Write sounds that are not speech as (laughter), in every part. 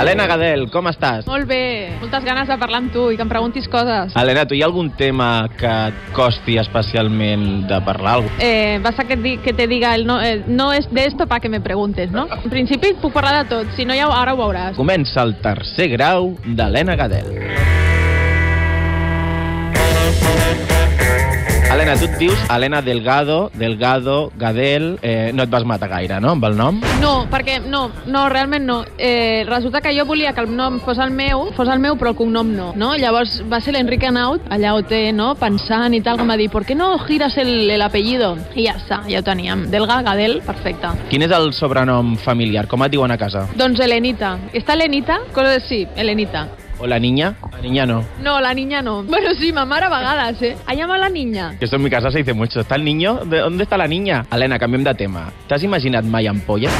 Helena Gadel, com estàs? Molt bé, moltes ganes de parlar amb tu i que em preguntis coses. Helena, tu hi ha algun tema que et costi especialment de parlar? Eh, vas a que, et di- que te diga el no, el no es de esto para que me preguntes, no? En principi puc parlar de tot, si no ja ho- ara ho veuràs. Comença el tercer grau d'Helena Gadel. Helena, tu et dius Helena Delgado, Delgado, Gadel... Eh, no et vas matar gaire, no?, amb el nom? No, perquè no, no, realment no. Eh, resulta que jo volia que el nom fos el meu, fos el meu però el cognom no, no? Llavors va ser l'Enrique Anaut, allà ho té, no?, pensant i tal, que em va dir, ¿por qué no giras el, el apellido? I ja està, ja ho teníem. Delga, Gadel, perfecte. Quin és el sobrenom familiar? Com et diuen a casa? Doncs Elenita. Està Elenita? Cosa de sí, Elenita. O la niña? La niña no. No, la niña no. (laughs) Bueno, sí, ma mare a vegades, eh? Ha llamat la niña. Que esto en mi casa se dice mucho. ¿Está el niño? ¿De ¿Dónde está la niña? Helena, canviem de tema. T'has imaginat mai ampolla?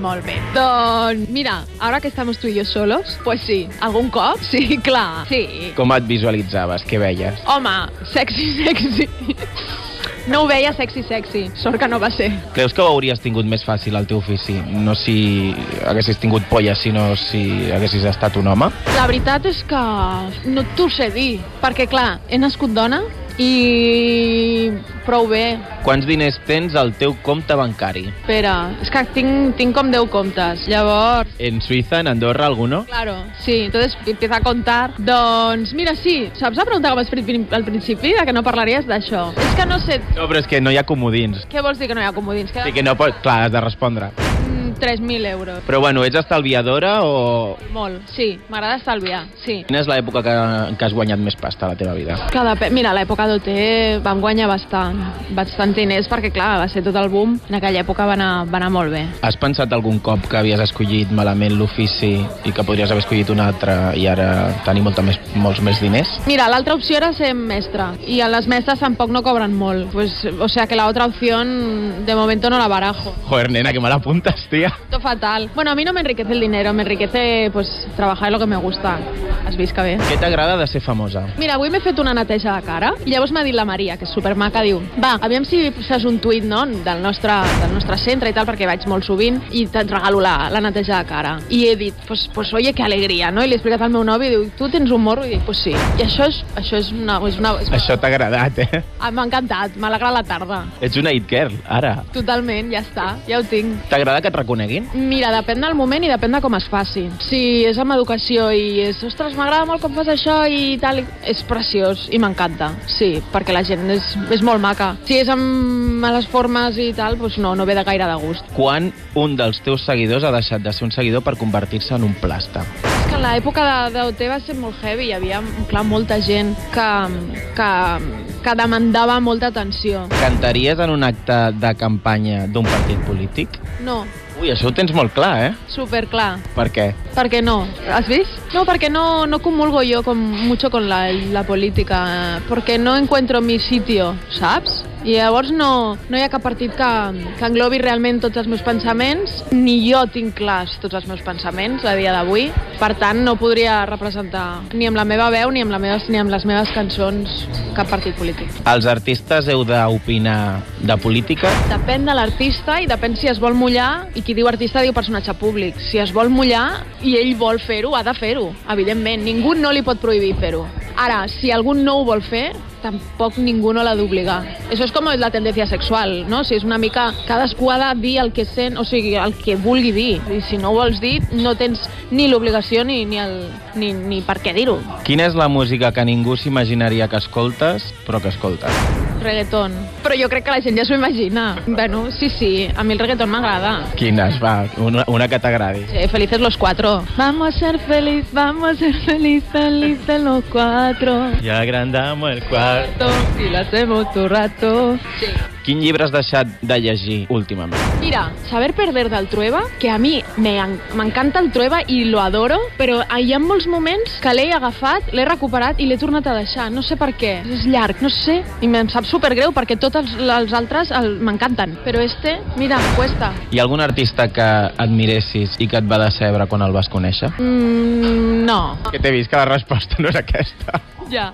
Molt bé. Doncs, mira, ahora que estamos tú y yo solos, pues sí, algun cop, sí, clar, sí. Com et visualitzaves? Què veies? Home, sexy, (laughs) sexy. No ho veia sexy, sexy. Sort que no va ser. Creus que ho hauries tingut més fàcil al teu ofici? No si haguessis tingut polla, sinó si haguessis estat un home? La veritat és que no t'ho sé dir, perquè, clar, he nascut dona i prou bé. Quants diners tens al teu compte bancari? Espera, és que tinc, tinc com 10 comptes. Llavors, En Suïssa, en Andorra, alguno? Claro, sí, entonces empieza a contar. Doncs mira, sí, saps la pregunta que m'has fet prin- al principi, de que no parlaries d'això? És que no sé, No, però és que no hi ha comodins. què vols dir que no hi ha comodins? Que Sí que no pots... Clar, has de respondre. Mm, 3.000 euros. Però bueno, ets estalviadora o... Molt, sí, m'agrada estalviar, sí. Quina és l'època que, que has guanyat més pasta a la teva vida? Cada pe... Mira, a l'època d'OT vam guanyar bastant, bastant diners, perquè clar, va ser tot el boom. En aquella època va anar, va anar molt bé. Has pensat algun cop que havies escollit malament l'ofici i que podries haver escollit un altre i ara tenir molta més, molts més diners? Mira, l'altra opció era ser mestra, i a les mestres tampoc no cobran molt. Pues, o sea que la otra opción, de momento no la barajo. Joder, nena, que me l'apuntes, tia. Todo fatal. Bueno, a mí no me enriquece el dinero, me enriquece pues trabajar en lo que me gusta. Has vist que bé. Què t'agrada de ser famosa? Mira, avui m'he fet una neteja de cara i llavors m'ha dit la Maria, que és supermaca, diu Va, aviam si fas un tuit, no?, del nostre, del nostre centre i tal, perquè vaig molt sovint i te'n regalo la, la neteja de cara. I he dit, pues, pues oye, que alegria, no? I l'he explicat al meu novi i diu, tu tens un morro? I dic, pues sí. I això és, això és una... És una és... Això t'ha agradat, eh? Ah, M'ha encantat, m'alegra la tarda. Ets una hit girl, ara. Totalment, ja està, ja ho tinc. T'agrada que et reconeguin? Mira, depèn del moment i depèn de com es faci. Si és amb educació i és, ostres, m'agrada molt com fas això i tal, és preciós i m'encanta, sí, perquè la gent és, és molt maca. Si és amb males formes i tal, doncs no, no ve de gaire de gust. Quan un dels teus seguidors ha deixat de ser un seguidor per convertir-se en un plasta? És que l'època de, de OT va ser molt heavy, hi havia, clar, molta gent que, que, que demandava molta atenció. Cantaries en un acte de campanya d'un partit polític? No, Ui, això ho tens molt clar, eh? superclar. Per què? ¿Por qué no? ¿Has visto? No, porque no, no comulgo yo con, mucho con la, la política, porque no encuentro mi sitio, ¿sabes? I llavors no, no hi ha cap partit que, que englobi realment tots els meus pensaments, ni jo tinc clars tots els meus pensaments a dia d'avui. Per tant, no podria representar ni amb la meva veu ni amb, la meves, ni amb les meves cançons cap partit polític. Els artistes heu d'opinar de política? Depèn de l'artista i depèn si es vol mullar, i qui diu artista diu personatge públic. Si es vol mullar i ell vol fer-ho, ha de fer-ho, evidentment. Ningú no li pot prohibir fer-ho. Ara, si algú no ho vol fer, tampoc ningú no l'ha d'obligar. Això és com la tendència sexual, no? O sigui, és una mica... Cadascú ha de dir el que sent, o sigui, el que vulgui dir. I si no ho vols dir, no tens ni l'obligació ni, ni, el, ni, ni per què dir-ho. Quina és la música que ningú s'imaginaria que escoltes, però que escoltes? Reggaeton. Però jo crec que la gent ja s'ho imagina. Bueno, sí, sí, a mi el reggaeton m'agrada. Quines, va, una, una que t'agradi. Sí, Eh, felices los cuatro. Vamos a ser feliz, vamos a ser feliz, felices los cuatro. I agrandamos el quart. Y lo hacemos tu rato. Sí. Quin llibre has deixat de llegir últimament? Mira, Saber Perder del Trueba, que a mi me en- m'encanta el Trueba i lo adoro, però hi ha molts moments que l'he agafat, l'he recuperat i l'he tornat a deixar, no sé per què. És llarg, no sé, i em sap supergreu perquè tots els, els altres el, m'encanten. Però este, mira, em cuesta. Hi ha algun artista que admiressis i que et va decebre quan el vas conèixer? Mm, no. Que t'he vist que la resposta no és aquesta. Ja.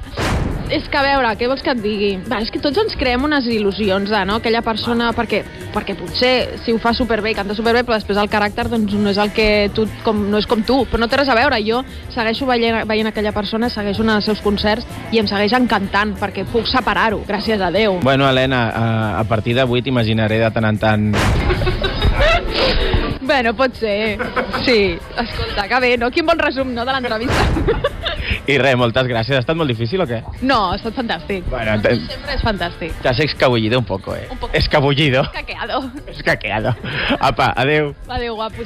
és que a veure, què vols que et digui? Va, és que tots ens creem unes il·lusions de, no? Aquella persona, perquè, perquè potser si ho fa superbé i canta superbé, però després el caràcter doncs, no és el que tu, com, no és com tu, però no té res a veure. Jo segueixo veient, veient aquella persona, segueixo en els seus concerts i em segueix encantant perquè puc separar-ho, gràcies a Déu. Bueno, Helena, a, a partir d'avui t'imaginaré de tant en tant... Bueno, pot ser. Sí. Escolta, que bé, no? Quin bon resum, no?, de l'entrevista. I res, moltes gràcies. Ha estat molt difícil o què? No, ha estat fantàstic. Bueno, te- Sempre és fantàstic. Te has escabullido un poco, eh? Un poco. Escabullido. Caqueado. Escaqueado. Apa, adeu. Adéu, guapos.